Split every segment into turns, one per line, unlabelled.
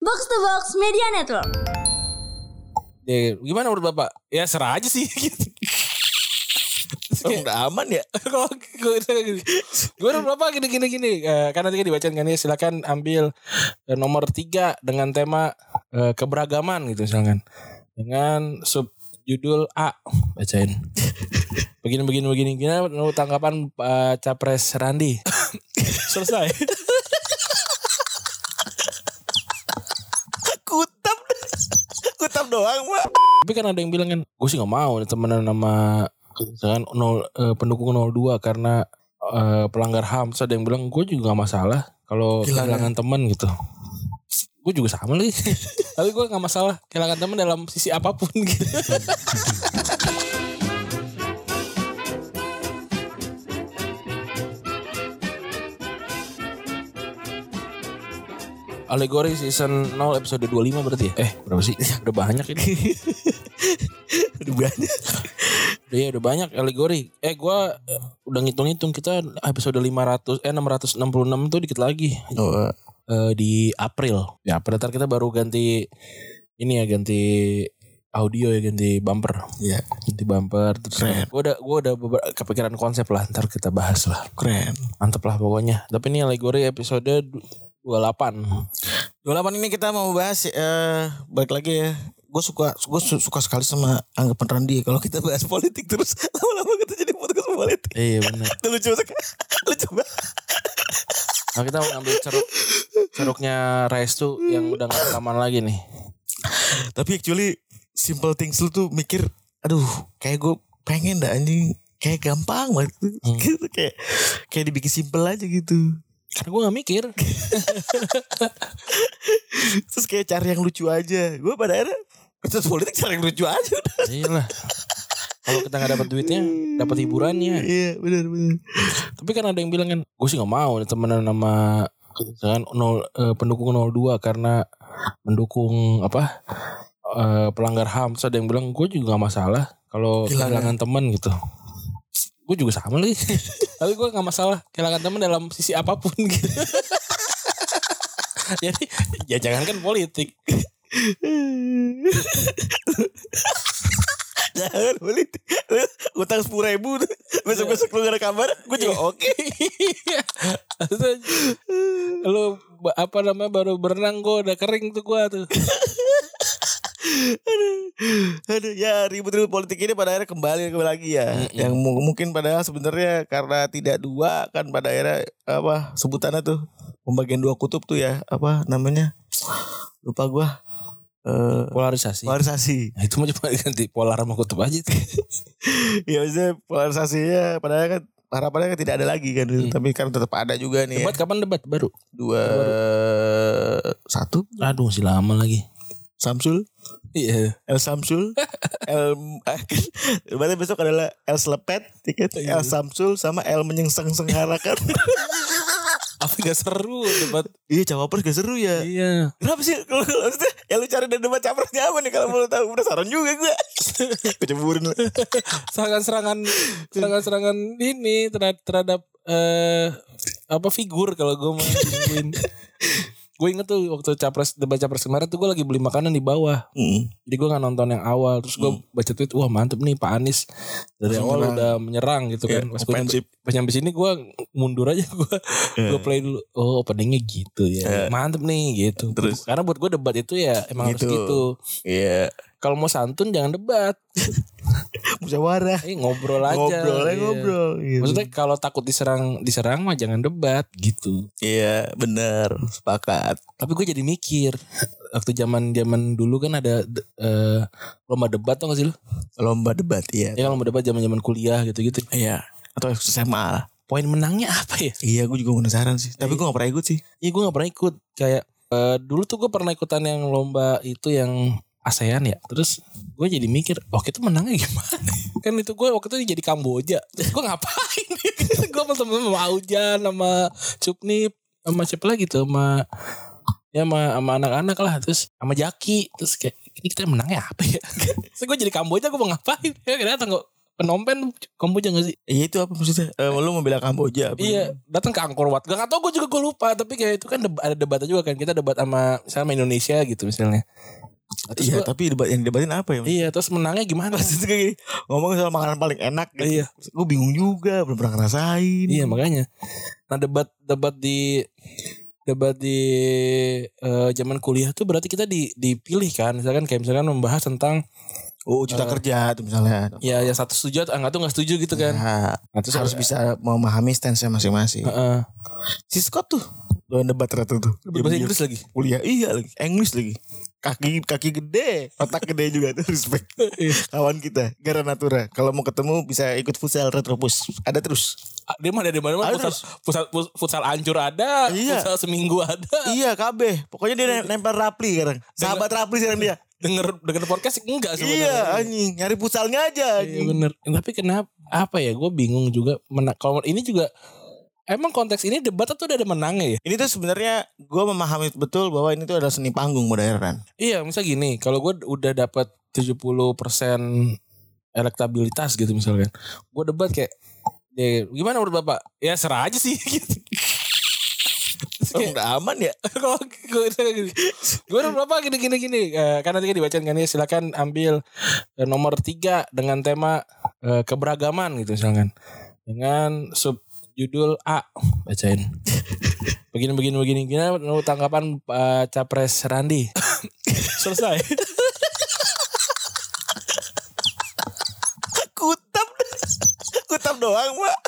Box to Box Media Network.
Ya, gimana menurut Bapak? Ya serah aja sih gitu. Terus
Oh,
kayak,
udah aman ya?
kalau gue gue udah berapa gini gini gini Eh, kan nanti kan dibacain kan ya silakan ambil eh, nomor tiga dengan tema eh, keberagaman gitu misalkan dengan sub judul A bacain begini begini begini gimana menurut tanggapan eh, capres Randi selesai
Kutap. Kutap doang, Pak.
tapi kan ada yang bilang kan gue sih nggak mau nih temenan sama misalkan nol, eh, pendukung 02 karena eh, pelanggar ham Terus ada yang bilang gue juga gak masalah kalau
Kehilangan.
kehilangan teman gitu gue juga sama lagi tapi gue nggak masalah kehilangan teman dalam sisi apapun gitu Alegori season 0 episode 25 berarti ya? Eh berapa sih? Udah banyak ini
Aduh, banyak.
Iya udah banyak alegori. Eh gua eh, udah ngitung-ngitung kita episode 500 eh 666 tuh dikit lagi
Oh,
Eh, di April. Ya, pada ntar kita baru ganti ini ya ganti audio ya ganti bumper.
Iya.
Ganti bumper terus
Keren.
gua udah gua udah beber- kepikiran konsep lah ntar kita bahas lah.
keren.
Mantep lah pokoknya. Tapi ini alegori episode du- 28.
28 ini kita mau bahas eh balik lagi ya. Gue suka gue suka sekali sama anggapan Randi ya. kalau kita bahas politik terus lama-lama kita jadi podcast politik.
Iya benar.
Itu lucu sekali. Lucu banget.
Nah, kita mau ngambil ceruk ceruknya Restu yang udah gak rekaman lagi nih.
Tapi actually simple things lu tuh mikir aduh kayak gue pengen dah anjing kayak gampang banget
Hmm.
gitu kayak kayak dibikin simple aja gitu
Karena gua gak mikir.
terus kayak cari yang lucu aja gue pada akhirnya terus politik cari yang lucu aja
Iya lah. Kalau kita nggak dapat duitnya, dapat hiburannya.
iya benar benar
Tapi kan ada yang bilang kan, gue sih nggak mau nih temenan sama misalkan nol, eh, pendukung 02 karena mendukung apa eh, pelanggar ham. Terus ada yang bilang gue juga nggak masalah kalau
Kehilangan.
kehilangan teman gitu. Gue juga sama lagi. Tapi gue nggak masalah kehilangan teman dalam sisi apapun gitu. Jadi ya jangan kan politik.
Jangan politik Utang sepuluh ribu Besok-besok lu gak ada kabar Gue juga oke
Iya. Maksudnya, lu ba- apa namanya baru berenang gue udah kering tuh gue tuh.
Aduh ya ribut-ribut politik ini pada akhirnya kembali kembali lagi ya Yang mu- mungkin padahal sebenarnya Karena tidak dua Kan pada akhirnya Apa Sebutannya tuh Pembagian dua kutub tuh ya Apa namanya Lupa gua eh
Polarisasi.
Polarisasi
Nah, itu mah cuma ganti polar sama kutub aja tuh.
Ya maksudnya polarisasinya Padahal kan Harapannya kan tidak ada lagi kan Tapi kan tetap ada juga nih ya.
Debat kapan debat baru?
Dua Satu
Aduh masih lama lagi.
Samsul
Iya.
El Samsul, El eh, berarti besok adalah El Selepet, tiket El Samsul sama El menyengseng sengharakan.
Apa gak seru debat?
iya cawapres gak seru ya.
iya.
Kenapa sih kalau kalau maksudnya ya lu cari dan debat capresnya apa nih kalau mau lu tahu penasaran juga gue. Gue cemburuin lah.
Serangan-serangan serangan-serangan ini terhadap, terhadap eh apa figur kalau gue mau nungguin. gue inget tuh waktu capres debat capres kemarin tuh gue lagi beli makanan di bawah.
Hmm.
Jadi gue nggak nonton yang awal terus gue baca tweet wah mantep nih Pak Anies dari
Langsung
awal
nyerang.
udah menyerang gitu
Iya,
kan. Pas gue
offensive.
pas nyampe sini gue mundur aja gue
Iya.
gue play dulu. Oh openingnya gitu ya. Mantep nih gitu.
Terus?
karena buat gue debat itu ya emang harus
Gitu.
gitu.
Iya.
Kalau mau santun jangan debat,
Musyawarah.
eh, ngobrol aja.
Ngobrol aja
Iya.
ngobrol. gitu.
Maksudnya kalau takut diserang diserang mah jangan debat gitu.
Iya bener sepakat.
Tapi gue jadi mikir waktu zaman zaman dulu kan ada de- eh, lomba debat tau gak sih lu?
Lomba debat iya.
Ya kan lomba debat zaman zaman kuliah gitu gitu.
Iya. Atau SMA lah.
Poin menangnya apa ya?
Iya gue juga penasaran sih. Tapi gue gak pernah ikut sih.
Iya gue gak pernah ikut Kayak eh, Dulu tuh gue pernah ikutan yang lomba itu yang ASEAN ya Terus gue jadi mikir Waktu itu menangnya gimana Kan itu gue waktu itu jadi Kamboja Terus gue ngapain Gue sama temen sama Aujan Sama Cupnip Sama siapa lagi tuh Sama Ya sama, sama anak-anak lah Terus sama Jaki Terus kayak Ini kita menangnya apa ya Terus gue jadi Kamboja Gue mau ngapain Ya kira datang gue Penompen Kamboja gak sih?
Iya itu apa maksudnya? Eh, lu membela Kamboja. apa?
Iya, datang ke Angkor Wat. Gak tau gue juga gue lupa, tapi kayak itu kan deb- ada debatnya juga kan. Kita debat sama misalnya sama Indonesia gitu misalnya. Terus
Iya,
gua-
tapi debat, yang didebatin apa ya?
iya, terus menangnya gimana?
Maksudnya kayak gini, ngomong soal makanan paling enak gitu.
iya,
Gue bingung juga, belum pernah ngerasain.
iya makanya. Nah, debat debat di debat di eh, zaman kuliah tuh berarti kita di, dipilih kan. Misalkan kayak misalkan membahas tentang
Oh,
Eh.
cita kerja tuh misalnya.
ya yang satu setuju atau enggak tuh enggak setuju gitu kan.
Nah,
Nah, terus Ah.
harus bisa memahami stance-nya masing-masing.
Heeh.
Si Scott tuh doyan debat ternyata tuh.
Debat bahasa Inggris lagi.
Kuliah iya lagi, English lagi. Kaki kaki gede, otak gede juga tuh respect.
Iya.
Kawan kita, Gara Natura. Kalau mau ketemu bisa ikut futsal retropus. Ada terus.
Ah, Dia mah ada di mana-mana futsal,
Ada terus.
futsal, futsal, ancur ada,
Iya.
futsal seminggu ada.
Iya, kabeh. Pokoknya dia
Iya.
nem- nempel Rapli sekarang. Sahabat Rapli sekarang dia.
Denger denger podcast enggak sebenarnya.
Iya, anjing. Nyari futsalnya
Iya
aja anjing.
bener. Tapi kenapa? Apa ya? Gue bingung juga. Mena- kalau ini juga emang konteks ini debat atau udah ada menangnya ya?
Ini tuh sebenarnya gue memahami betul bahwa ini tuh adalah seni panggung modern.
Iya, misal gini, kalau gue udah dapat 70% elektabilitas gitu misalkan. Gue debat kayak ya, gimana menurut Bapak? Ya serah aja sih gitu. Terus
Oh,
kayak,
udah aman ya?
kalau gue gue nomor berapa gini gini gini Eh, karena tadi dibacain kan ya silakan ambil eh, nomor tiga dengan tema eh, keberagaman gitu misalkan dengan sub judul A bacain begini begini begini gimana menurut tanggapan eh, capres Randi selesai
Kutap. Kutap doang, Pak.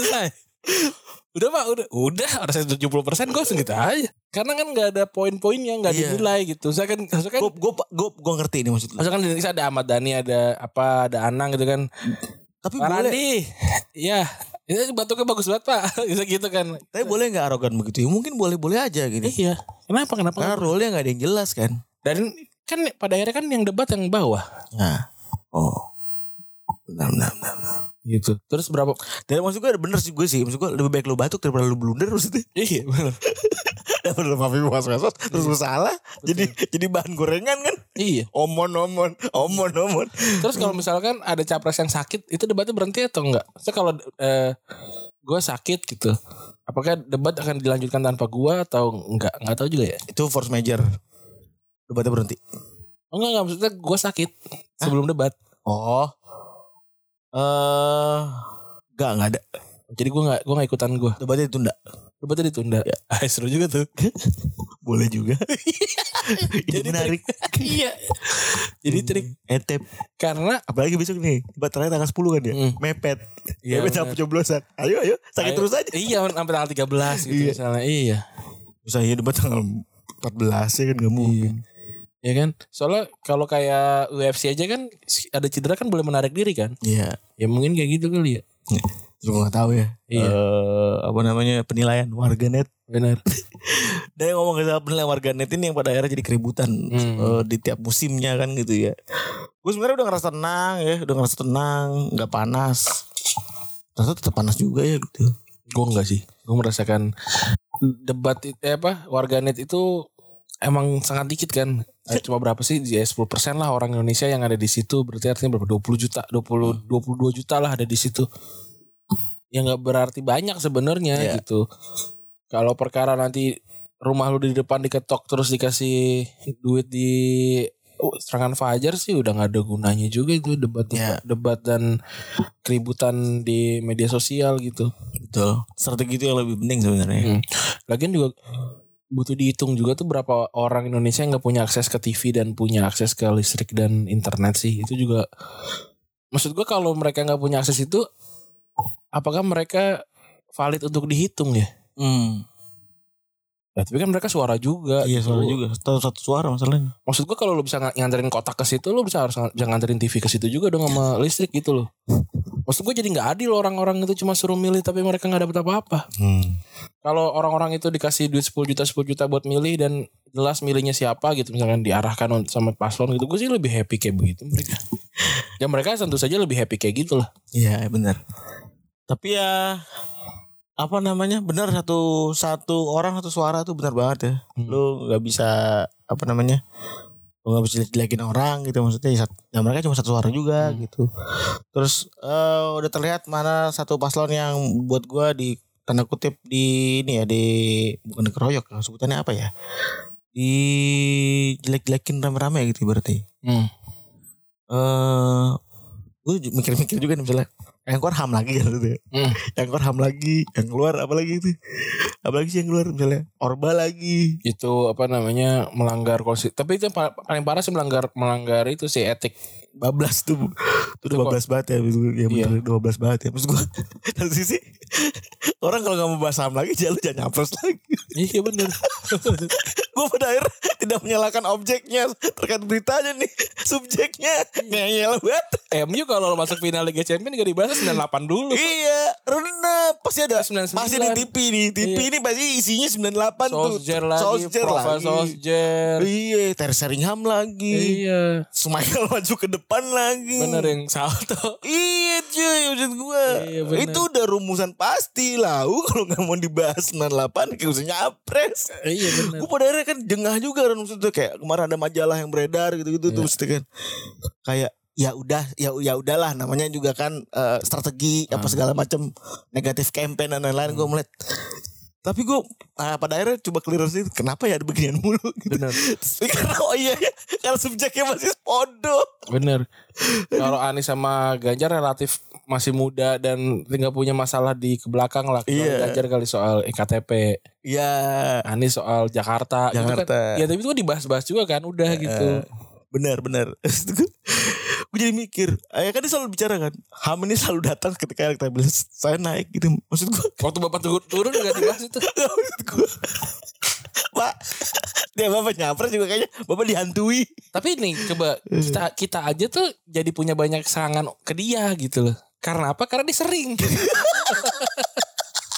selesai udah pak udah udah harusnya 70% puluh persen gue segitu aja karena kan nggak ada poin-poinnya nggak
Iya.
dinilai gitu saya kan saya kan
Gue gue gue gue ngerti ini maksud lu.
Maksudnya kan di Indonesia ada Ahmad Dhani, ada apa, ada Anang gitu kan.
Tapi
Pak
boleh,
Randi, ya, ini batuknya bagus banget pak, bisa gitu kan.
tapi boleh nggak arogan begitu? Ya, mungkin boleh-boleh aja gini.
Iya, kenapa kenapa?
Karena role-nya nggak ada yang jelas kan.
Dan kan pada akhirnya kan yang debat yang bawah
Nah, oh, benar benar benar. benar.
gitu. Terus berapa?
Dan maksud gue bener sih gue sih. Maksud gue lebih baik lu batuk daripada lu blunder maksudnya.
Iya, bener.
Daripada lu maafin was-was terus lu salah. Jadi jadi bahan gorengan kan.
iya.
Omon omon omon omon.
Terus kalau misalkan ada capres yang sakit, itu debatnya berhenti atau enggak? Saya kalau eh, gue sakit gitu, apakah debat akan dilanjutkan tanpa gua atau enggak? Enggak tahu juga ya.
Itu force major. Debatnya berhenti.
Oh, enggak enggak maksudnya gue sakit sebelum debat,
Oh. Eh, nggak nggak ada.
jadi gua nggak gua nggak ikutan gua.
Debatnya ditunda.
Debatnya ditunda. Ah, seru juga tuh.
Boleh juga.
Jadi
Jadi menarik.
iya. Jadi trik
Etep.
karena
Apalagi besok nih. Debat terakhir tanggal 10 kan ya.
Hmm.
Mepet.
Iya,
Mepet
benar.
sampai coblosan. Ayo ayo. Sakit
Ayo.
terus aja.
Iya, sampai tanggal 13 gitu
Iya.
misalnya. Iya.
Bisa ya debat tanggal 14 ya kan gak mungkin.
Ya kan? Soalnya kalau kayak UFC aja kan ada cedera kan boleh menarik diri kan?
Iya.
Ya mungkin kayak gitu kali ya.
Terus gue gak tahu ya.
Iya.
Eh, apa namanya penilaian warganet.
Benar.
Dan yang ngomong soal penilaian warganet ini yang pada akhirnya jadi keributan
Hmm.
eh, di tiap musimnya kan gitu ya. Gue sebenarnya udah ngerasa tenang ya, udah ngerasa tenang, nggak panas. Ternyata tetap panas juga ya gitu.
Gue enggak sih. Gue merasakan debat itu eh apa warganet itu emang sangat dikit kan. Eh, Cuma berapa sih? Ya 10% lah orang Indonesia yang ada di situ. Berarti artinya berapa? 20 juta,
Hmm.
20 22 juta lah ada di situ. Ya nggak berarti banyak sebenarnya
Iya.
gitu. Kalau perkara nanti rumah lu di depan diketok terus dikasih duit di oh, serangan fajar sih udah nggak ada gunanya juga itu debat
Iya.
debat dan keributan di media sosial gitu.
Betul. Strategi itu yang lebih penting sebenarnya.
Hmm. Lagian juga butuh dihitung juga tuh berapa orang Indonesia yang nggak punya akses ke TV dan punya akses ke listrik dan internet sih itu juga maksud gua kalau mereka nggak punya akses itu apakah mereka valid untuk dihitung ya?
Hmm.
Nah, tapi kan mereka suara juga.
Iya suara
gitu.
juga. Satu, satu suara masalahnya.
Maksud gua kalau lu bisa ng- nganterin kotak ke situ, lu bisa harus ng- bisa nganterin TV ke situ juga dong sama listrik gitu loh. Maksud gua jadi nggak adil orang-orang itu cuma suruh milih tapi mereka nggak dapet apa-apa.
Hmm.
kalau orang-orang itu dikasih duit 10 juta 10 juta buat milih dan jelas milihnya siapa gitu misalkan diarahkan un- sama paslon gitu gue sih lebih happy kayak begitu mereka ya mereka tentu saja lebih happy kayak gitu lah
Iya benar. Tapi ya apa namanya benar satu satu orang satu suara tuh benar banget ya.
Hmm.
Lu nggak bisa apa namanya lu nggak bisa jelekin orang gitu maksudnya ya, sat- ya mereka cuma satu suara juga gitu terus eh, udah terlihat mana satu paslon yang buat gua di tanda kutip di ini ya di bukan dikeroyok sebutannya apa ya di jelek-jelekin rame-rame gitu berarti
Hmm.
eh gue mikir-mikir juga nih misalnya yang keluar ham lagi kan gitu ya.
Hmm.
yang keluar ham lagi yang keluar apa lagi itu apalagi sih yang keluar misalnya orba lagi
itu apa namanya melanggar konstitusi tapi itu yang pa- paling parah sih melanggar melanggar itu sih etik
bablas tuh itu udah
kok-
bablas banget ya betul ya
Iya.
bener udah bablas banget ya maksud gue dari sisi orang kalau nggak mau bahas ham lagi jangan lu jangan nyapres lagi
iya bener
gue pada akhirnya tidak menyalahkan objeknya terkait beritanya nih subjeknya ngeyel banget
MU kalau masuk final Liga Champions gak dibahas 98 dulu
iya renep pasti ada
99.
pasti di TV nih TV
Iya.
ini pasti isinya 98 tuh
Solskjaer lagi
Solskjaer
Profesor
lagi.
Solskjaer
iya Ter Sheringham lagi
iya
Sumail maju ke depan lagi
bener yang salto
Iya cuy maksud gue
Iya, bener.
Itu udah rumusan pasti lah Uh, Kalau gak mau dibahas 98 Kayak usah nyapres
iya bener
Gue pada akhirnya kan jengah juga kan maksudnya kayak kemarin ada majalah yang beredar gitu-gitu tuh maksudnya kan kayak ya udah ya ya udahlah namanya juga kan eh, strategi apa segala macam negatif campaign dan lain-lain gue melihat tapi gue ah, pada akhirnya coba clear sih kenapa ya ada beginian mulu gitu.
Bener.
karena oh iya ya, karena subjeknya masih podo
bener kalau Anies sama Ganjar relatif masih muda dan nggak punya masalah di kebelakang lah Kalau
Iya.
Ganjar kali soal E KTP
ya
Anies soal Jakarta, gitu
Jakarta.
kan. Ya tapi itu kan dibahas-bahas juga kan udah gitu.
eh, benar benar gue jadi mikir eh, kan dia selalu bicara kan ham ini selalu datang ketika elektabilitas saya naik gitu maksud gue
Waktu Bapak turun, turun gak dibahas itu.
maksud gue pak dia bapak nyapres juga kayaknya bapak dihantui
tapi ini coba kita kita aja tuh jadi punya banyak serangan ke dia gitu loh. Karena apa? Karena dia sering.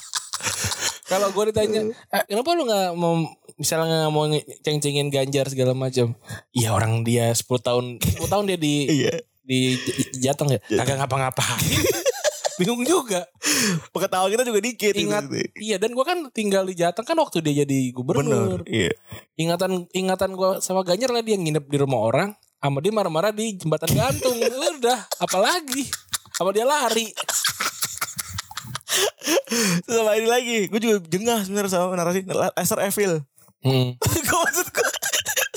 Kalau gue ditanya, "Eh, kenapa lu nggak mau misalnya nggak mau ceng-cengin Ganjar segala macam? Iya orang dia 10 tahun 10 tahun dia di
iya
di di Jateng ya, kagak ngapa-ngapain. Bingung juga.
pengetahuan kita juga dikit gitu.
Ingat, iya dan gua kan tinggal di Jateng kan waktu dia jadi
bener
gubernur.
iya
Ingatan ingatan gua sama Ganjar lah dia nginep di rumah orang, sama dia marah-marah di jembatan gantung. Udah, apalagi sama dia lari.
Terus sama ini lagi gue juga jengah sebenarnya sama narasi Esther Evil
Hmm.
gue maksud gue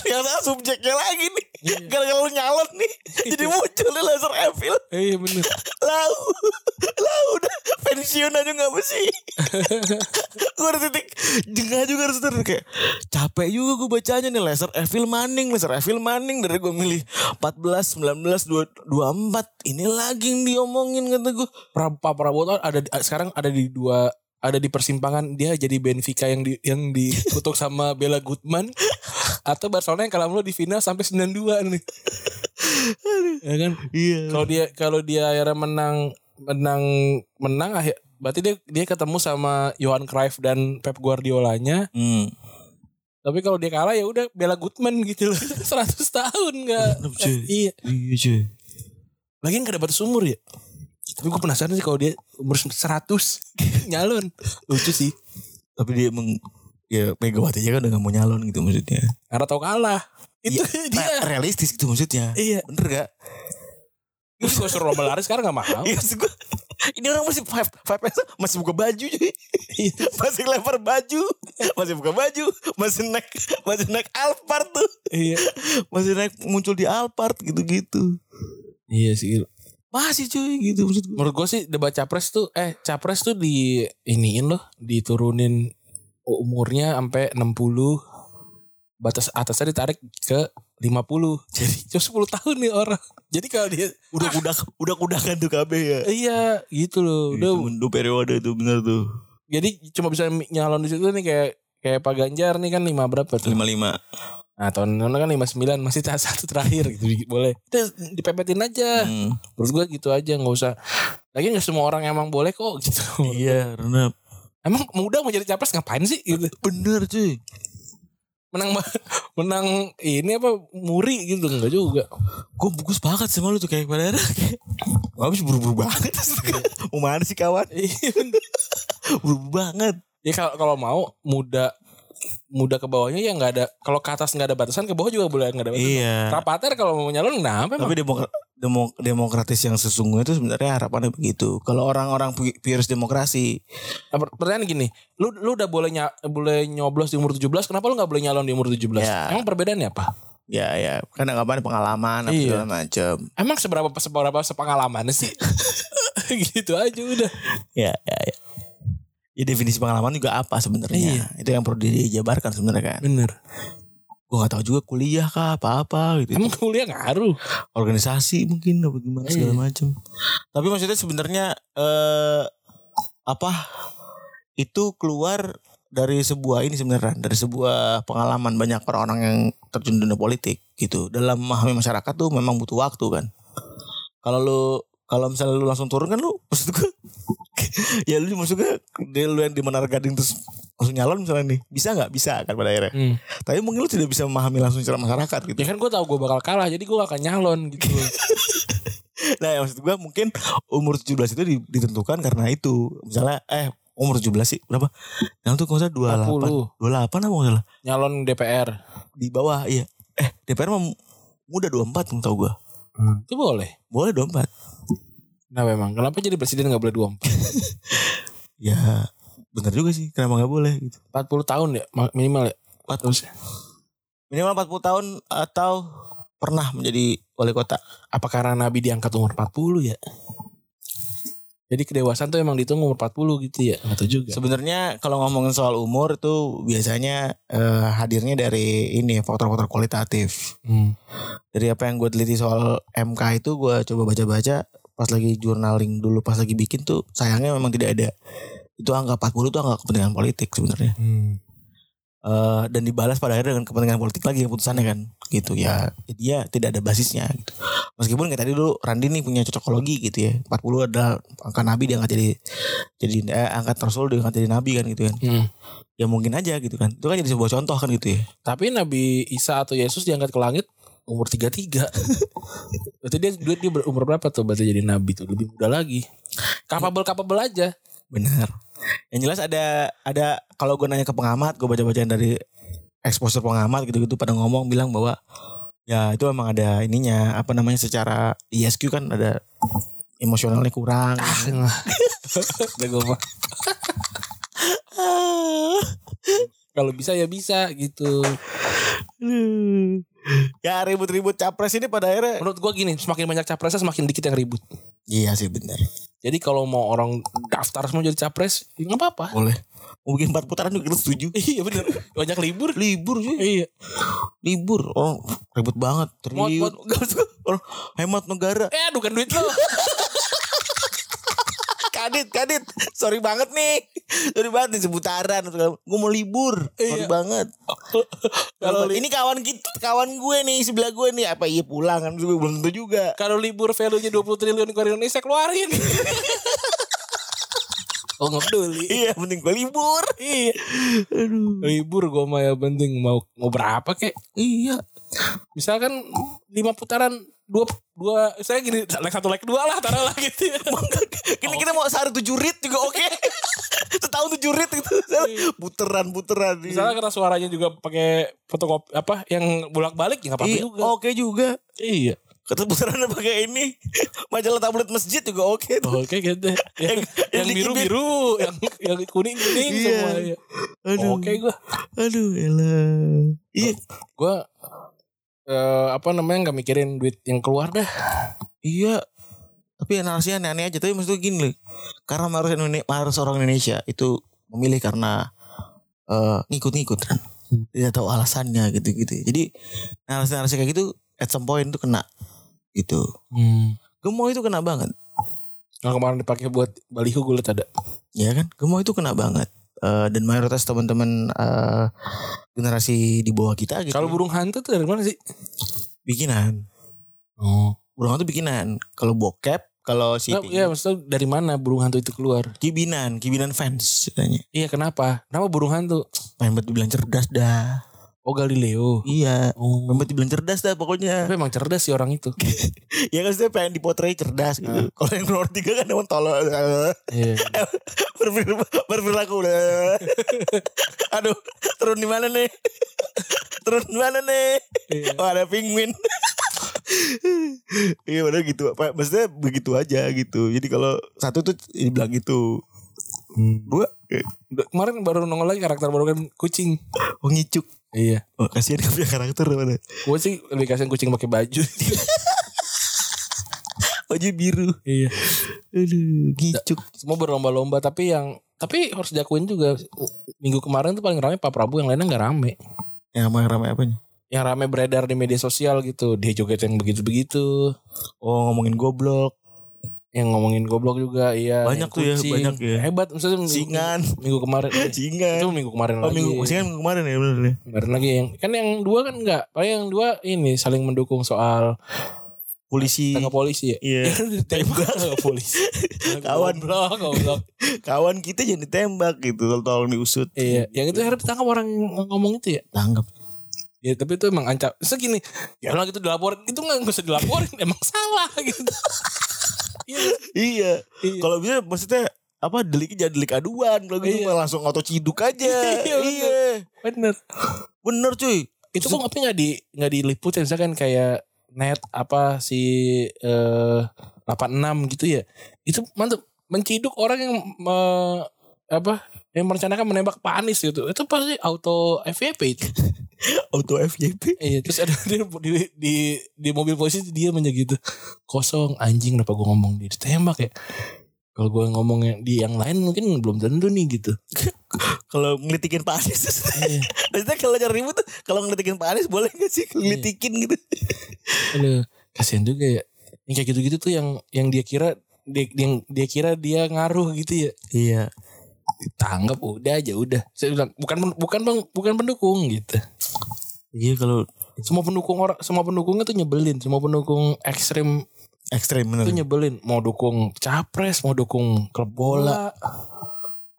yang salah subjeknya lagi nih gara-gara lu nyalon nih jadi muncul nih laser Evil
Iya bener.
lau lau udah pensiun aja nggak besi gue udah titik jengah juga harus terus kayak capek juga gue bacanya nih laser Evil Manning laser Evil Manning dari gue milih 14 19 2, 24 ini lagi yang diomongin kata gue
Pra- Pak Prabowo tuh ada sekarang ada di dua ada di persimpangan dia jadi Benfica yang di, yang dikutuk sama Bella Goodman atau Barcelona yang kalah mulu di final sampai 92 nih. ya kan?
iya
Kalau dia kalau dia akhirnya menang menang menang akhir berarti dia dia ketemu sama Johan Cruyff dan Pep Guardiolanya
hmm.
Tapi kalau dia kalah ya udah Bella Goodman gitu loh. 100 tahun enggak.
Bener, cuy.
iya.
iya cuy
Lagian gak ada batas umur ya. Tapi gue penasaran sih kalau dia umur 100 nyalon. Lucu sih.
tapi dia emang ya Megawati aja kan udah gak mau nyalon gitu maksudnya
Karena tau kalah. Itu dia.
Re- realistis gitu maksudnya
Iya.
bener gak
Gue suruh lomba lari sekarang gak mau.
Iya maksud gue Ini orang masih five, five S Masih buka baju cuy Masih lempar baju Masih buka baju Masih naik Masih naik Alphard tuh
iya.
Masih naik muncul di Alphard gitu-gitu
Iya sih.
Masih cuy gitu maksud gue
Menurut gue sih debat capres tuh eh capres tuh di iniin loh, diturunin umurnya sampai 60 batas atasnya ditarik ke 50. Jadi cuma 10 tahun nih orang. Jadi kalau dia
Udah kudak Udah kudakan tuh KB ya
Iya gitu loh. Udah,
Itu Dua periode itu bener tuh
jadi cuma bisa nyalon di situ nih kayak kayak Pak Ganjar nih kan lima berapa tuh?
Iya. 55
Nah tahun lalu kan lima sembilan masih tahap satu terakhir gitu di- boleh. Itu dipepetin aja.
Hmm.
Menurut gua gitu aja nggak usah. Lagi nggak semua orang emang boleh kok gitu.
Iya renap
Emang muda mau jadi capres ngapain sih? Gitu.
Bener cuy
Menang menang ini apa muri gitu nggak juga.
Gue gue sepakat sama lu tuh kayak pada era kayak, Habis buru-buru banget Mau mana sih kawan Buru-buru banget
ya kalau kalau mau muda muda ke bawahnya ya nggak ada kalau ke atas nggak ada batasan ke bawah juga boleh nggak ada batasan.
Iya.
Rapater kalau mau nyalon kenapa emang?
Tapi demokra- demo- demokratis yang sesungguhnya itu sebenarnya harapannya begitu. Kalau orang-orang pi- virus demokrasi,
Nah, per- pertanyaan gini, lu lu udah boleh nya- boleh nyoblos di umur 17, kenapa lu nggak boleh nyalon di umur 17?
Ya.
Emang perbedaannya apa?
ya ya, kan anggapan pengalaman apa
Iya.
segala macam.
Emang seberapa seberapa sepengalaman sih? gitu aja udah.
Ya ya Iya. ya. Ya definisi pengalaman juga apa sebenarnya? Itu yang perlu dijabarkan sebenarnya kan.
Bener.
Gue gak tahu juga kuliah kah apa-apa gitu.
Emang kuliah ngaruh.
organisasi mungkin apa gimana segala
Iya.
macam. Tapi maksudnya sebenarnya eh apa itu keluar dari sebuah ini sebenarnya dari sebuah pengalaman banyak orang-orang yang terjun dunia politik gitu. Dalam memahami masyarakat tuh memang butuh waktu kan. Kalau lu kalau misalnya lu langsung turun kan lu maksud gue ya lu maksudnya dia lu yang di Menara Gading terus langsung nyalon misalnya nih bisa nggak bisa kan pada akhirnya
Hmm.
tapi mungkin lu tidak bisa memahami langsung secara masyarakat gitu
Ya kan gue tau gue bakal kalah jadi gue gak akan nyalon gitu loh.
Nah yang maksud gue mungkin umur 17 itu di- ditentukan karena itu Misalnya eh umur 17 sih berapa? Yang tuh kalau nggak
40.
salah 28 28 apa nggak salah
Nyalon DPR.
Di bawah iya Eh DPR mah muda 24 yang tau gue
Itu boleh.
Boleh 24
Kenapa emang? Nah, Kenapa jadi presiden gak boleh 24?
Ya bener juga sih kenapa nggak boleh gitu
40 tahun ya ma- minimal ya?
40 Minimal 40 tahun atau pernah menjadi wali kota
Apa karena Nabi diangkat umur 40 ya? Jadi kedewasaan tuh emang dihitung umur 40 gitu ya? Gak tau juga.
Sebenarnya kalau ngomongin soal umur itu biasanya eh, hadirnya dari ini faktor-faktor kualitatif
Hmm.
dari apa yang gue teliti soal MK itu gue coba baca-baca pas lagi journaling dulu pas lagi bikin tuh sayangnya memang tidak ada itu angka 40 itu angka kepentingan politik sebenarnya
Hmm.
Eh, dan dibalas pada akhirnya dengan kepentingan politik lagi keputusannya kan gitu ya dia tidak ada basisnya gitu meskipun kayak tadi dulu Randi nih punya cocokologi gitu ya 40 adalah angka nabi dia angkat jadi jadi eh, angkat rasul dia angkat jadi nabi kan gitu kan
Hmm.
ya mungkin aja gitu kan itu kan jadi sebuah contoh kan gitu ya
Tapi Nabi Isa atau Yesus diangkat ke langit umur 33. berarti dia, dia, dia umur berapa tuh berarti jadi nabi tuh? Lebih muda lagi. Kapabel-kapabel aja.
Benar. Yang jelas ada ada kalau gue nanya ke pengamat, gue baca-bacaan dari exposure pengamat gitu-gitu pada ngomong bilang bahwa ya itu emang ada ininya apa namanya secara ISQ kan ada emosionalnya kurang.
Udah gua mah. Kalau bisa ya bisa gitu.
Aduh. ya ribut-ribut capres ini pada akhirnya.
Menurut gua gini, semakin banyak capresnya semakin dikit yang ribut.
Iya sih benar.
Jadi kalau mau orang daftar semua jadi capres, ya nggak apa-apa.
Boleh. Mungkin empat putaran juga kita setuju.
Iya bener. Banyak libur.
libur sih
Iya.
libur orang ribut banget
Mot,
triliun
mot.
orang hemat negara
Eh aduh kan duit lo.
Kadit, kadit. Sorry banget nih. Sorry banget nih seputaran. Gue mau libur. Sorry
Iya.
banget.
Kalau
Kalau
li-
ini kawan kita, kawan gue nih sebelah gue nih apa iya pulang kan gue belum tentu juga.
Kalau libur value-nya 20 triliun ke Indonesia keluarin. oh nggak peduli.
Iya, penting gue libur.
Iya.
Aduh.
Libur gue mah ya penting mau mau berapa kek.
Iya.
Misalkan 5 putaran dua dua saya gini like satu like dua lah taruh lah gitu.
Ini Kan kita mau sehari tujuh rit juga oke. Setahun tujuh rit gitu. Puteran, puteran. Iya.
Misalnya karena suaranya juga pakai fotokopi apa yang bolak-balik ya nggak apa-apa
Iya,
juga.
Oke juga.
Iya.
Kata puteran pakai ini. Majalah tablet masjid juga oke. tuh.
Oke gitu. Yang, yang
yang
biru biru, yang yang kuning kuning
Iya.
semua. ya.
Aduh.
Oke gua.
Aduh, elah. Iya,
Gua eh, apa namanya nggak mikirin duit yang keluar dah.
Iya. Tapi narasinya aneh-aneh aja. Tapi maksudnya gini loh. Karena harus, Indonesia, harus orang Indonesia itu memilih karena eh, ngikut-ngikut kan.
Hmm.
Tidak tahu alasannya gitu-gitu. Jadi narasi-narasi kayak gitu at some point tuh kena gitu.
Hmm.
Gemo itu kena banget.
Nah, kemarin dipakai buat baliho gue liat ada.
Ya kan? Gemo itu kena banget. Eh, dan mayoritas teman-teman eh, generasi di bawah kita gitu.
Kalau burung hantu tuh dari mana sih?
bikinan.
Oh.
Burung itu bikinan. Kalau bokep, kalau si
Nggak, ya maksudnya dari mana burung hantu itu keluar?
kibinan, kibinan fans katanya.
Iya kenapa? Kenapa burung hantu?
Main buat bilang cerdas dah.
Oh Galileo.
Iya.
Oh.
Membuat dibilang cerdas dah pokoknya.
Tapi emang cerdas sih orang itu.
ya kan saya pengen dipotret cerdas gitu. Kalau yang nomor tiga kan emang tolol.
Iya.
Berperilaku, berperilaku. Aduh, turun di mana nih? turun di mana nih?
Iya.
Oh ada penguin. Iya padahal gitu Pak. Maksudnya begitu aja gitu Jadi kalau Satu tuh Dibilang gitu
Hmm.
Dua eh,
Kemarin baru nongol lagi karakter baru kan kucing.
Oh ngicuk
Iya.
Oh kasihan dia punya karakter mana
Gue sih lebih kasihan kucing pakai baju.
Wajah biru
iya.
Aduh Ngicuk
Semua berlomba-lomba tapi yang tapi harus diakuin juga minggu kemarin tuh paling rame Pak Prabu yang lainnya nggak rame.
Yang ramai ramai apanya
Yang rame beredar di media sosial gitu. Dia joget yang begitu-begitu.
Oh ngomongin goblok
Yang ngomongin goblok juga iya.
Banyak
Yang
tuh ya,
kucing.
banyak ya.
Hebat maksudnya minggu-
Singan
Minggu kemarin.
Singan
Itu minggu kemarin
Oh
lagi.
minggu Singan minggu kemarin ya bener ya
Kemarin lagi yang kan yang dua kan enggak, paling yang dua ini saling mendukung soal
Polisi
tangkap polisi ya.
Iya
Kan ditembak tangkap polisi.
Kawan.
goblok, goblok.
Kawan kita jangan ditembak gitu Tolong diusut
Iya, yang itu akhirnya ditangkap orang yang ngomong itu ya.
Tanggap
Ya tapi itu emang ancam. Segini, ya orang itu dilaporin, itu nggak nggak usah dilaporin, emang salah gitu. Iya,
Iya
iya.
Kalau bisa maksudnya apa deliknya jangan delik aduan kalau gitu
Iya.
mah langsung auto ciduk aja.
Iya, bener.
iya.
bener.
Bener cuy.
Itu kok tapi nggak di nggak diliput ya misalkan kayak net apa si eh 86 gitu ya. Itu mantep menciduk orang yang me- apa yang merencanakan menembak Pak Anies gitu. Itu pasti auto FVP itu.
Auto FJP.
Iya, terus ada dia di, di, di mobil polisi dia aja gitu. Kosong anjing kenapa gue ngomong dia ditembak ya. Kalau gue ngomong yang- di yang lain mungkin belum tentu nih gitu.
Kalau ngelitikin Pak Anies.
Iya.
maksudnya kalau cari ribut tuh kalau ngelitikin Pak Anies boleh gak sih ngelitikin gitu.
Aduh, kasihan juga ya. Yang kayak gitu-gitu tuh yang yang dia kira dia, yang dia kira dia ngaruh gitu ya.
Iya.
Tanggap udah aja udah. Saya bilang bukan bukan bang, bukan pendukung gitu.
Iya kalau
Semua pendukung orang semua pendukungnya tuh nyebelin, semua pendukung ekstrim
ekstrem
itu
bener.
nyebelin mau dukung capres mau dukung klub bola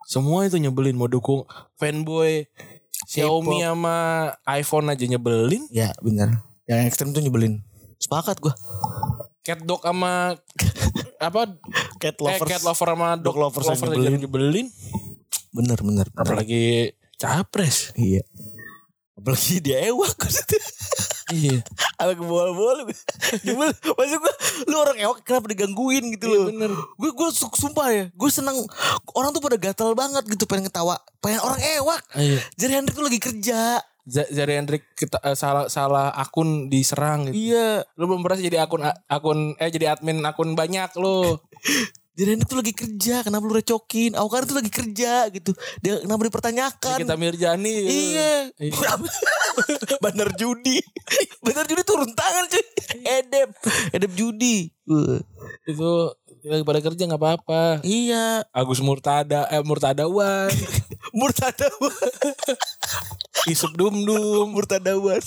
semua itu nyebelin mau dukung fanboy Xiaomi sama iPhone aja nyebelin
Ya bener. Yang ekstrem tuh nyebelin. Sepakat gua.
catdog sama apa
Cat
eh,
lovers.
cat lover sama dog
Dog lovers
lovers,
yang
aja
nyebelin.
nyebelin.
Bener bener. bener.
apalagi capres
Iya. Apalagi dia ewak
iya
Apa ke bola-bola Nyebel Maksud gue Lu orang ewak kenapa digangguin gitu
Iya,
loh
bener.
Gue gue su- sumpah ya Gue seneng Orang tuh pada gatal banget gitu Pengen ketawa Pengen orang ewak
iya
Jadi Hendrik tuh lagi kerja
Z- Zari Hendrik kita, eh, salah salah akun diserang gitu.
Iya
Lu belum pernah jadi akun akun eh jadi admin akun banyak lu.
Jadi Hendrik tuh lagi kerja Kenapa lu recokin Awakar tuh lagi kerja gitu Dia kenapa dipertanyakan
Kita Mirjani. gitu.
Iya
Iya.
Bandar judi Bandar judi turun tangan cuy Edep Edep judi Wah.
itu lagi pada kerja nggak apa-apa
Iya
Agus Murtada eh Murtadawan
Murtadawan
Isup Dumdum
Murtadawan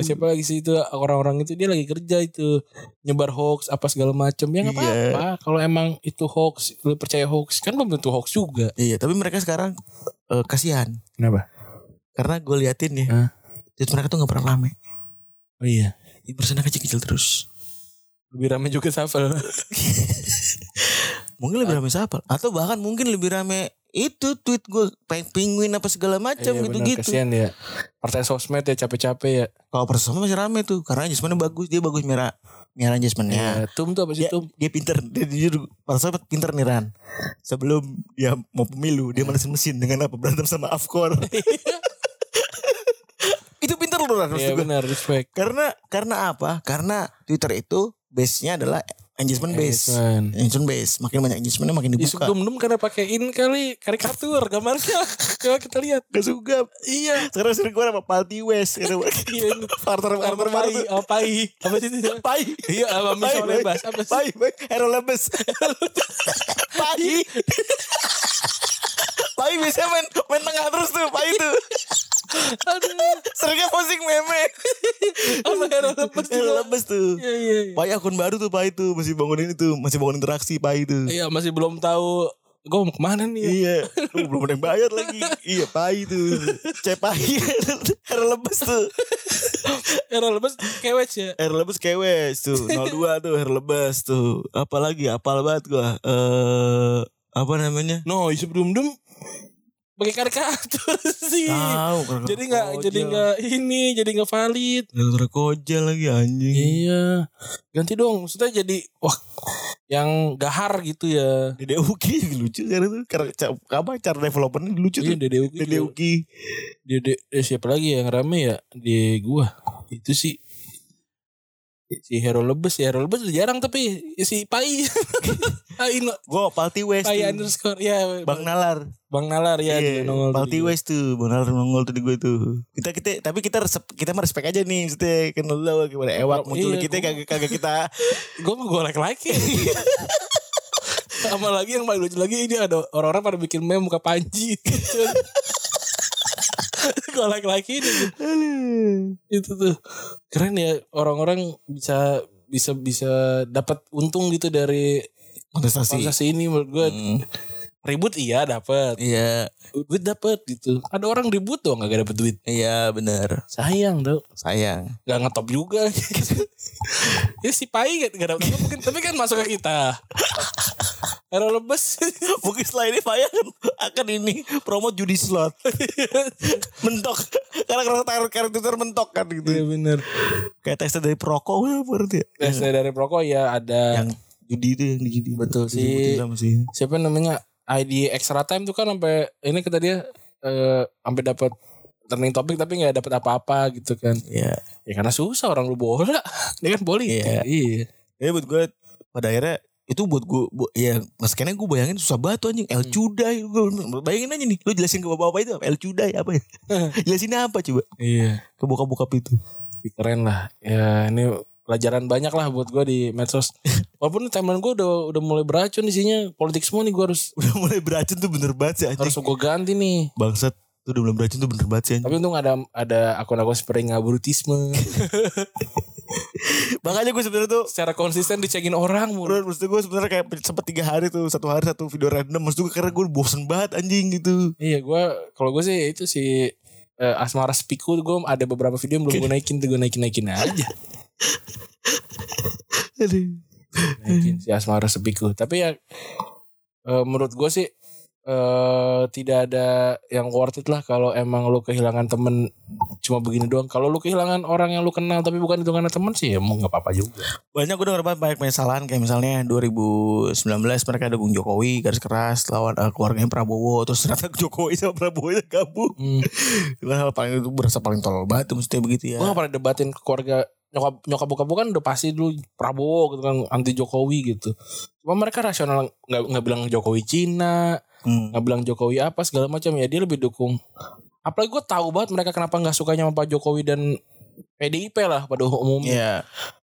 Eh, siapa lagi sih itu orang-orang itu dia lagi kerja itu nyebar hoax apa segala macam ya nggak
Iya.
apa-apa kalau emang itu hoax lu percaya hoax kan belum tentu hoax juga
Iya, tapi mereka sekarang eh, kasihan
kenapa
karena gue liatin ya.
Hah?
tweet mereka tuh gak pernah rame.
oh iya
Impressionnya kecil-kecil terus.
lebih ramai juga Safel
Mungkin lebih rame siapa? Atau bahkan mungkin lebih rame itu tweet gue peng penguin apa segala
Iya,
macam
benar,
gitu-gitu.
kasihan ya partai sosmed ya capek-capek ya
Kalau persama masih rame tuh karena jasmannya bagus, dia bagus merah merah jasmannya.
Ya, tum tuh apa sih
Dia,
tum
dia pinter, dia jujur persama pinter nih Ran. Sebelum dia mau pemilu,
Iya.
dia manasin mesin dengan apa berantem sama Afkor. itu pinter loh Ran. maksud
Iya
gua.
benar respect
Karena karena apa? Karena Twitter itu base-nya adalah engagement base.
Engagement. Iya,
Engagement base. Makin banyak engagementnya makin
Isup
dibuka.
Dumdum karena pakein kali karikatur gambarnya coba kita lihat
Gak suka. Iya. Sekarang sering gue sama Palti West.
Iya, ini.
Farter farter
Pai, oh, pai. Apa sih itu?
Pai.
Iya, sama
Pai,
Miss Olebas. Apa sih?
Pai. Pai. Errol Lebes. Pai. Pai biasanya main, main tengah terus tuh. Pai tuh.
Aduh.
Seringnya posting meme.
Sama Errol Lebes juga.
Errol Lebes tuh.
Iya, iya. iya.
Pai akun baru tuh Pai tuh. Masih bangunin itu. Masih bangun interaksi Pai tuh.
Iya, masih belum tahu gue mau kemana nih?
Iya, Lu belum ada yang bayar lagi. iya, pai tuh. Cepai. Air lebes tuh.
Era lepas kewec ya.
Air lebes kewes tuh. 02 tuh air lebes tuh. Apalagi apal banget gua. Eh apa namanya?
No, isu dum dum pakai karikatur sih.
Tahu.
jadi nggak jadi
iya.
nggak ini jadi nggak valid.
Dokter Koja lagi anjing.
Iya. Ganti dong. Maksudnya jadi wah yang gahar gitu ya.
Dede Uki juga lucu sekarang tuh. Karena ca- apa cara developernya lucu
Iya
tuh.
Dede Uki.
Dede Uki.
Dede- eh, siapa lagi yang rame ya di gua. Itu sih si Hero Lebes, si Hero Lebes udah jarang tapi si Pai. Pai no,
Gua Palti West.
Pai
tuh.
underscore ya
Bang Nalar.
Bang Nalar ya dia
Iya,
nongol
Palti
tadi.
West tuh, Bang Nalar nongol tadi gue tuh. Kita kita tapi kita resep, kita mah respect aja nih maksudnya kan lu tahu gimana ewak
Iya,
muncul kita
gua-
kagak kagak kita
gue mau gue like-like sama lagi yang paling lucu lagi ini ada orang-orang pada bikin meme muka panji gue like-like ini itu tuh keren ya orang-orang bisa bisa bisa dapat untung gitu dari
kontestasi.
proses ini menurut gue
Hmm,
ribut iya dapat
Iya,
duit dapat gitu ada orang ribut doang gak dapet duit
iya benar.
sayang dong
Sayang.
gak ngetop juga ya si Pai gak, gak dapet apa mungkin tapi kan masuk ke kita Era lebes
Mungkin setelah ini Faya akan, akan ini promo judi slot. mentok. Karena karakter karakter mentok kan
Iya
gitu.
bener
Kayak teksnya dari perokok apa berarti ya?
Biasanya Nah, dari perokok ya ada
Yang judi itu yang dijudi.
Betul sih.
Disebutin sama si-
Siapa namanya ID extra time tuh kan sampai Ini kata dia eh, Sampai dapat Turning topic tapi gak dapat apa-apa gitu kan
Iya.
Ya karena susah orang lu bola Dia kan politik
Iya.
Iya
Ya buat gue pada akhirnya itu buat gue bu, ya maksudnya gue bayangin susah banget tuh anjing El
Hmm.
Cudai Gue bayangin aja nih lu jelasin ke bapak-bapak itu apa? El Cudai apa ya jelasin apa coba
Iya
ke bokap-bokap itu
Tapi keren lah ya ini pelajaran banyak lah buat gue di medsos walaupun timeline gue udah udah mulai beracun isinya politik semua nih gue harus
udah mulai beracun tuh bener banget sih anjing
harus gue ganti nih
bangsat tuh udah mulai beracun tuh bener banget sih anjing
tapi untung ada ada akun-akun seperti ngabrutisme
makanya gue sebenarnya tuh
secara konsisten dicekin orang mulu
Bro, maksud gue sebenarnya kayak sempet tiga hari tuh satu hari satu video random maksud gue karena gue bosen banget anjing gitu
iya gue kalau gue sih itu si eh, asmara spiku gue ada beberapa video yang belum gue naikin tuh gue naikin naikin aja
Aduh.
naikin si asmara spiku tapi ya eh, menurut gue sih eh tidak ada yang worth it lah kalau emang lu kehilangan temen cuma begini doang kalau lu kehilangan orang yang lu kenal tapi bukan hitungannya temen sih ya mau nggak apa-apa juga
banyak gue denger banget banyak penyesalan kayak misalnya 2019 mereka dukung Jokowi garis keras lawan eh, keluarganya Prabowo terus ternyata Jokowi sama Prabowo itu gabung
hmm.
itu hal paling itu berasa paling tolol banget tuh maksudnya begitu
gue
ya
gak pernah debatin ke keluarga nyokap nyokap bokap gua kan udah pasti dulu Prabowo gitu kan anti Jokowi gitu cuma mereka rasional nggak nggak bilang Jokowi Cina
Hmm.
nggak bilang Jokowi apa segala macam ya dia lebih dukung apalagi gue tahu banget mereka kenapa nggak sukanya sama Pak Jokowi dan PDIP lah pada umumnya
Iya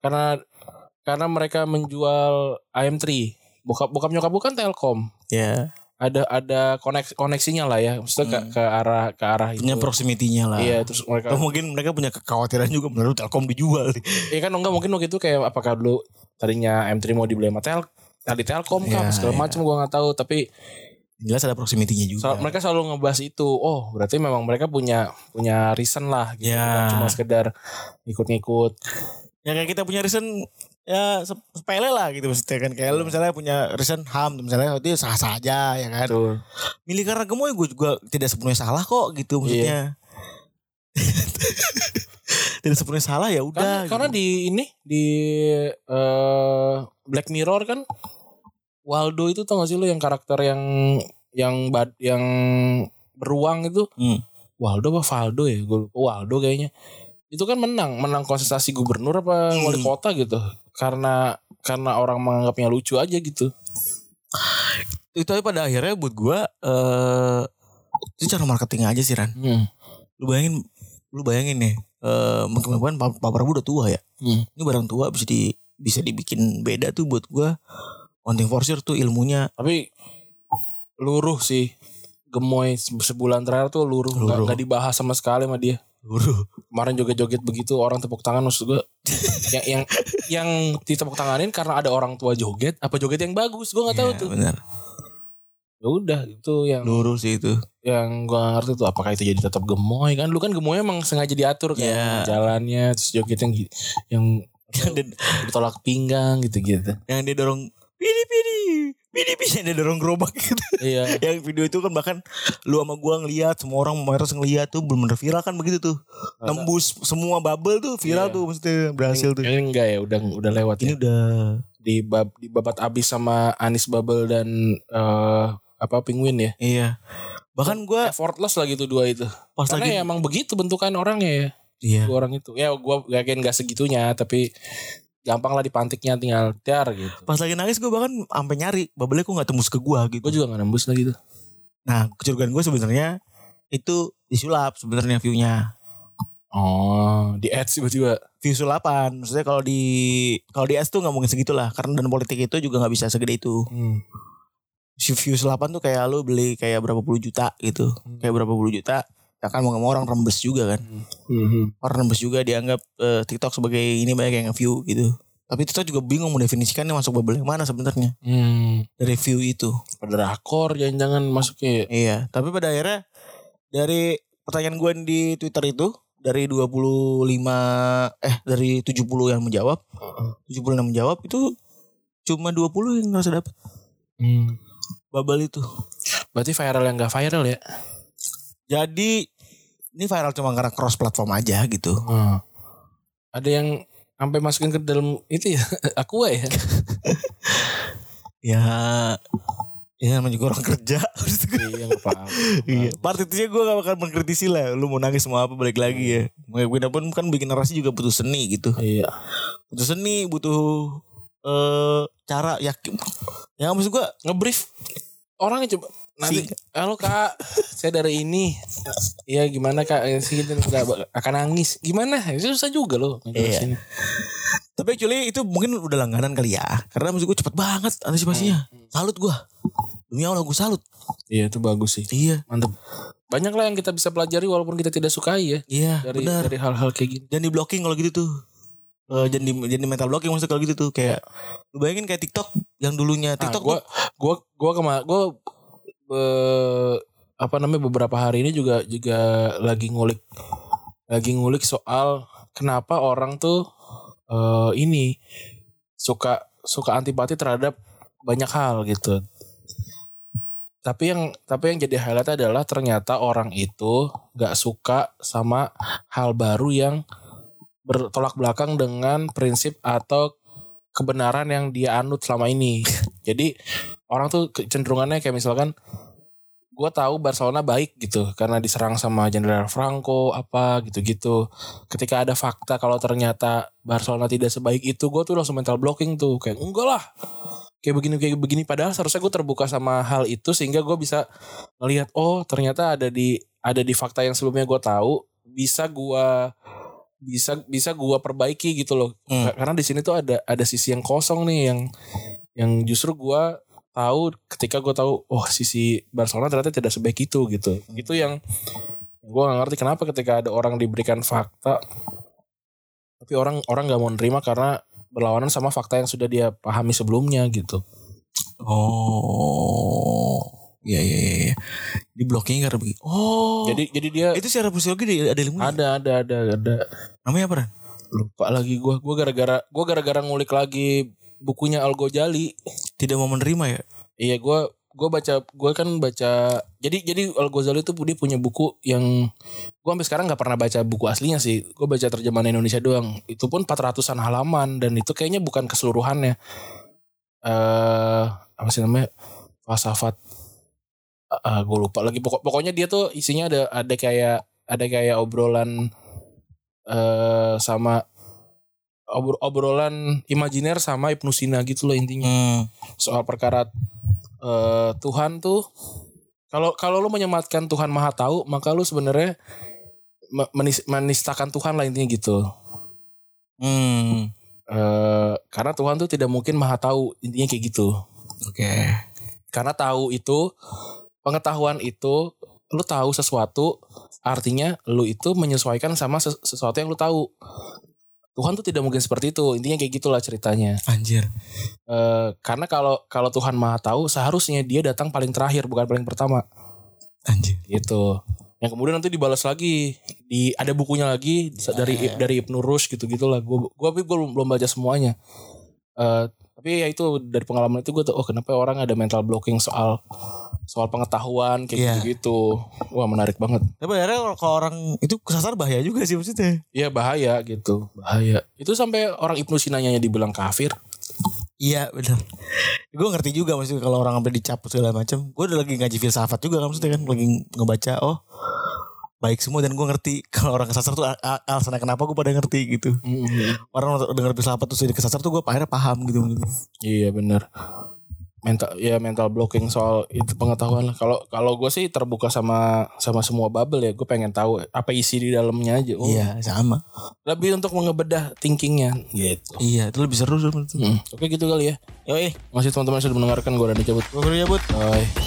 karena karena mereka menjual AM3 bokap bokap nyokap gue kan Telkom
ya
ada ada koneks koneksinya lah ya maksudnya ke, ke arah ke arah itu
Hmm. punya proximity-nya lah Oh.
iya terus mereka
Atau mungkin mereka punya kekhawatiran juga menurut Telkom dijual nih.
Iya kan enggak mungkin waktu itu kayak apakah dulu tadinya M3 mau dibeli sama Tel tadi Telkom kah
Iya,
segala
iya.
macam gua nggak tahu tapi
Jelas ada proximity-nya juga.
sel- mereka selalu ngebahas itu. Oh, berarti memang mereka punya punya reason lah gitu.
Ya.
Cuma sekedar ngikut-ngikut.
ya kayak kita punya reason ya se- sepele lah gitu maksudnya kan kayak lu misalnya punya reason ham misalnya itu sah sah aja ya kan
Betul.
milih karena gemoy gue juga tidak sepenuhnya salah kok gitu maksudnya tidak sepenuhnya salah ya
Karena,
udah
karena
gitu.
di ini di eh, Black Mirror kan Waldo itu tau gak sih lu yang karakter yang yang bad, yang beruang itu
Hmm.
Waldo apa Valdo ya gue lupa Waldo kayaknya itu kan menang menang kontestasi gubernur apa
Hmm.
wali kota gitu karena karena orang menganggapnya lucu aja gitu
itu aja pada akhirnya buat gue eh itu cara marketing aja sih Ran
hmm.
lu bayangin lu bayangin nih eh mungkin mungkin Pak, Pak Prabowo udah tua ya
Hmm.
ini barang tua bisa di bisa dibikin beda tuh buat gue Wanting for sure tuh ilmunya
tapi luruh sih gemoy se- sebulan terakhir tuh luruh
Luruh.
nggak nggak dibahas sama sekali sama dia
luruh
kemarin joget-joget begitu orang tepuk tangan maksud gue yang yang yang
Iya,
ditepuk tanganin karena ada orang tua joget apa joget yang bagus gue nggak tahu
Ya,
tuh
benar
Ya udah itu yang
lurus sih itu
yang gua gak ngerti tuh apakah itu jadi tetap gemoy kan lu kan gemoy emang sengaja diatur kan
Iya.
jalannya terus joget yang gi- yang
yang dia,
ditolak pinggang gitu-gitu.
yang dia dorong pidi pidi pidi pidi yang dia dorong gerobak gitu
iya.
yang video itu kan bahkan lu sama gua ngeliat semua orang mayoritas ngeliat tuh belum bener viral kan begitu tuh tembus semua bubble tuh viral
Iya.
tuh maksudnya berhasil tuh
Ini enggak ya udah udah lewat ya.
ini udah
di bab di babat abis sama Anis Bubble dan eh, apa Penguin ya.
iya bahkan gua
Effortless lah gitu dua itu.
pas
Karena
lagi
ya emang begitu bentukan orangnya ya.
iya
Dua orang itu. Ya gua yakin gak segitunya tapi gampang lah dipantiknya tinggal tiar gitu.
pas lagi nangis gua bahkan sampai nyari bubble kok nggak tembus ke gua gitu
Gue juga gak nembus lah gitu.
nah kecurigaan gua sebenarnya itu disulap sebenarnya view-nya
Oh, di ads tiba-tiba.
view sulapan maksudnya kalau di kalau di S tuh nggak mungkin segitulah karena dan politik itu juga nggak bisa segede itu
Hmm.
si view sulapan tuh kayak lu beli kayak berapa puluh juta gitu
Hmm.
kayak berapa puluh juta ya kan mau nggak mau orang rembes juga kan
Mm-hmm.
orang rembes juga dianggap eh, TikTok sebagai ini banyak yang view gitu tapi TikTok juga bingung mendefinisikannya masuk bubble yang mana sebenarnya
Hmm.
dari view itu
Pada rakor jangan-jangan masuknya. ya?
iya tapi pada akhirnya dari pertanyaan gue di Twitter itu dari 25 eh dari 70 yang menjawab
Uh-uh.
76 jawab itu cuma 20 yang ngerasa dapet
Hmm.
babal itu.
Berarti viral yang gak viral ya?
Jadi ini viral cuma karena cross platform aja gitu.
Hmm. Ada yang sampai masukin ke dalam itu ya aqua ya
Ya ya namanya juga orang kerja.
iya nggak apa-apa
Iya. Part itunya gue gak bakal mengkritisi lah. Lu mau nangis mau apa balik lagi ya. Gue pun kan bikin narasi juga butuh seni gitu.
iya
Butuh seni, butuh eh cara yakin. Ya maksud gue
ngebrief orangnya coba nanti
Sih.
halo kak saya dari ini iya gimana kak Eh, sih kita nggak akan nangis gimana itu susah juga loh ngejelasin
Tapi actually itu mungkin udah langganan kali ya. Karena maksud gue cepet banget antisipasinya.
Hmm,
Salut gue. Demi Allah gue salut.
iya itu bagus sih
Iya.
mantep banyak lah yang kita bisa pelajari walaupun kita tidak sukai ya
Iya
dari
benar.
dari hal-hal kayak gini
Jangan di blocking kalau gitu tuh. Eh jangan di jangan di mental blocking maksudnya kalau gitu tuh kayak lu bayangin kayak TikTok yang dulunya
Nah,
Iya, TikTok
gua
tuh-
gua gua kema gua eh, apa namanya beberapa hari ini juga juga lagi ngulik lagi ngulik soal kenapa orang tuh eh, ini suka suka antipati terhadap banyak hal gitu. Tapi yang tapi yang jadi highlight adalah ternyata orang itu nggak suka sama hal baru yang bertolak belakang dengan prinsip atau kebenaran yang dia anut selama ini. Jadi orang tuh kecenderungannya kayak misalkan gue tahu Barcelona baik gitu karena diserang sama Jenderal Franco apa gitu-gitu. Ketika ada fakta kalau ternyata Barcelona tidak sebaik itu, gue tuh langsung mental blocking tuh kayak enggak lah. Kayak begini kayak begini padahal seharusnya gue terbuka sama hal itu sehingga gue bisa melihat oh ternyata ada di ada di fakta yang sebelumnya gue tahu bisa gue bisa bisa gue perbaiki gitu loh
Hmm.
Ka- karena di sini tuh ada ada sisi yang kosong nih yang yang justru gua tahu ketika gua tahu oh sisi Barcelona ternyata tidak sebaik itu gitu itu yang gua gak ngerti kenapa ketika ada orang diberikan fakta tapi orang orang nggak mau nerima karena berlawanan sama fakta yang sudah dia pahami sebelumnya gitu
Oh. Iya iya iya. iya. Di blocking karena begini. Oh.
jadi jadi dia
itu secara psikologi di- ada ilmunya.
ada ada ada ada
Namanya apa? Ran?
lupa lagi gua gua gara-gara gua gara-gara ngulik lagi bukunya Al Ghazali
Tidak mau menerima ya.
Iya gua gua baca gua kan baca jadi jadi Al Ghazali itu dia punya buku yang gua sampai sekarang nggak pernah baca buku aslinya sih gua baca terjemahan Indonesia doang itu pun 400an halaman dan itu kayaknya bukan keseluruhannya eh apa sih namanya filsafat eh gue lupa lagi pokok pokoknya dia tuh isinya ada ada kayak ada kayak obrolan eh sama obrol- obrolan imajiner sama Ibnu Sina gitu loh intinya
Hmm.
soal perkara eh, Tuhan tuh kalau kalau lu menyematkan Tuhan Maha Tahu maka lu sebenarnya me- menis- menistakan Tuhan lah intinya gitu
Hmm.
Eh, karena Tuhan tuh tidak mungkin Maha Tahu intinya kayak gitu
Oke.
karena tahu itu pengetahuan itu lu tahu sesuatu artinya lu itu menyesuaikan sama ses- sesuatu yang lu tahu Tuhan tuh tidak mungkin seperti itu. Intinya kayak gitulah ceritanya.
Anjir.
Eh, karena kalau kalau Tuhan Maha tahu seharusnya dia datang paling terakhir bukan paling pertama
Anjir.
gitu. Yang kemudian nanti dibalas lagi. Di ada bukunya lagi dari dari Ibnu Rushd gitu-gitulah. Gua gua tapi gua belum, belum baca semuanya. Eh, tapi ya itu dari pengalaman itu gue tuh oh kenapa orang ada mental blocking soal soal pengetahuan kayak
Iya.
gitu-gitu. Wah, menarik banget.
Tapi akhirnya kalau- kalau orang itu kesasar bahaya juga sih maksudnya.
Iya bahaya gitu, bahaya. Itu sampai orang Ibnu Sinanya dibilang kafir.
Iya benar. Gue ngerti juga maksudnya kalau orang sampai dicaput segala macam. Gue udah lagi ngaji filsafat juga kan maksudnya kan lagi ngebaca oh baik semua dan gue ngerti kalau orang kesasar tuh al- al- alasan kenapa gue pada ngerti gitu. Orang denger filsafat terus jadi kesasar tuh gue akhirnya paham gitu.
Iya benar. Mental ya mental blocking soal itu pengetahuan lah. Kalau kalau gue sih terbuka sama sama semua bubble ya. Gue pengen tahu apa isi di dalamnya aja. Oh,
Iya sama.
Lebih untuk mengebedah thinkingnya gitu.
Iya itu lebih seru sih menurut gue.
Mm. Oke gitu kali ya.
Yoi.
Masih teman-teman sudah mendengarkan gue Rani cabut.
Gue kerja buat.
Bye.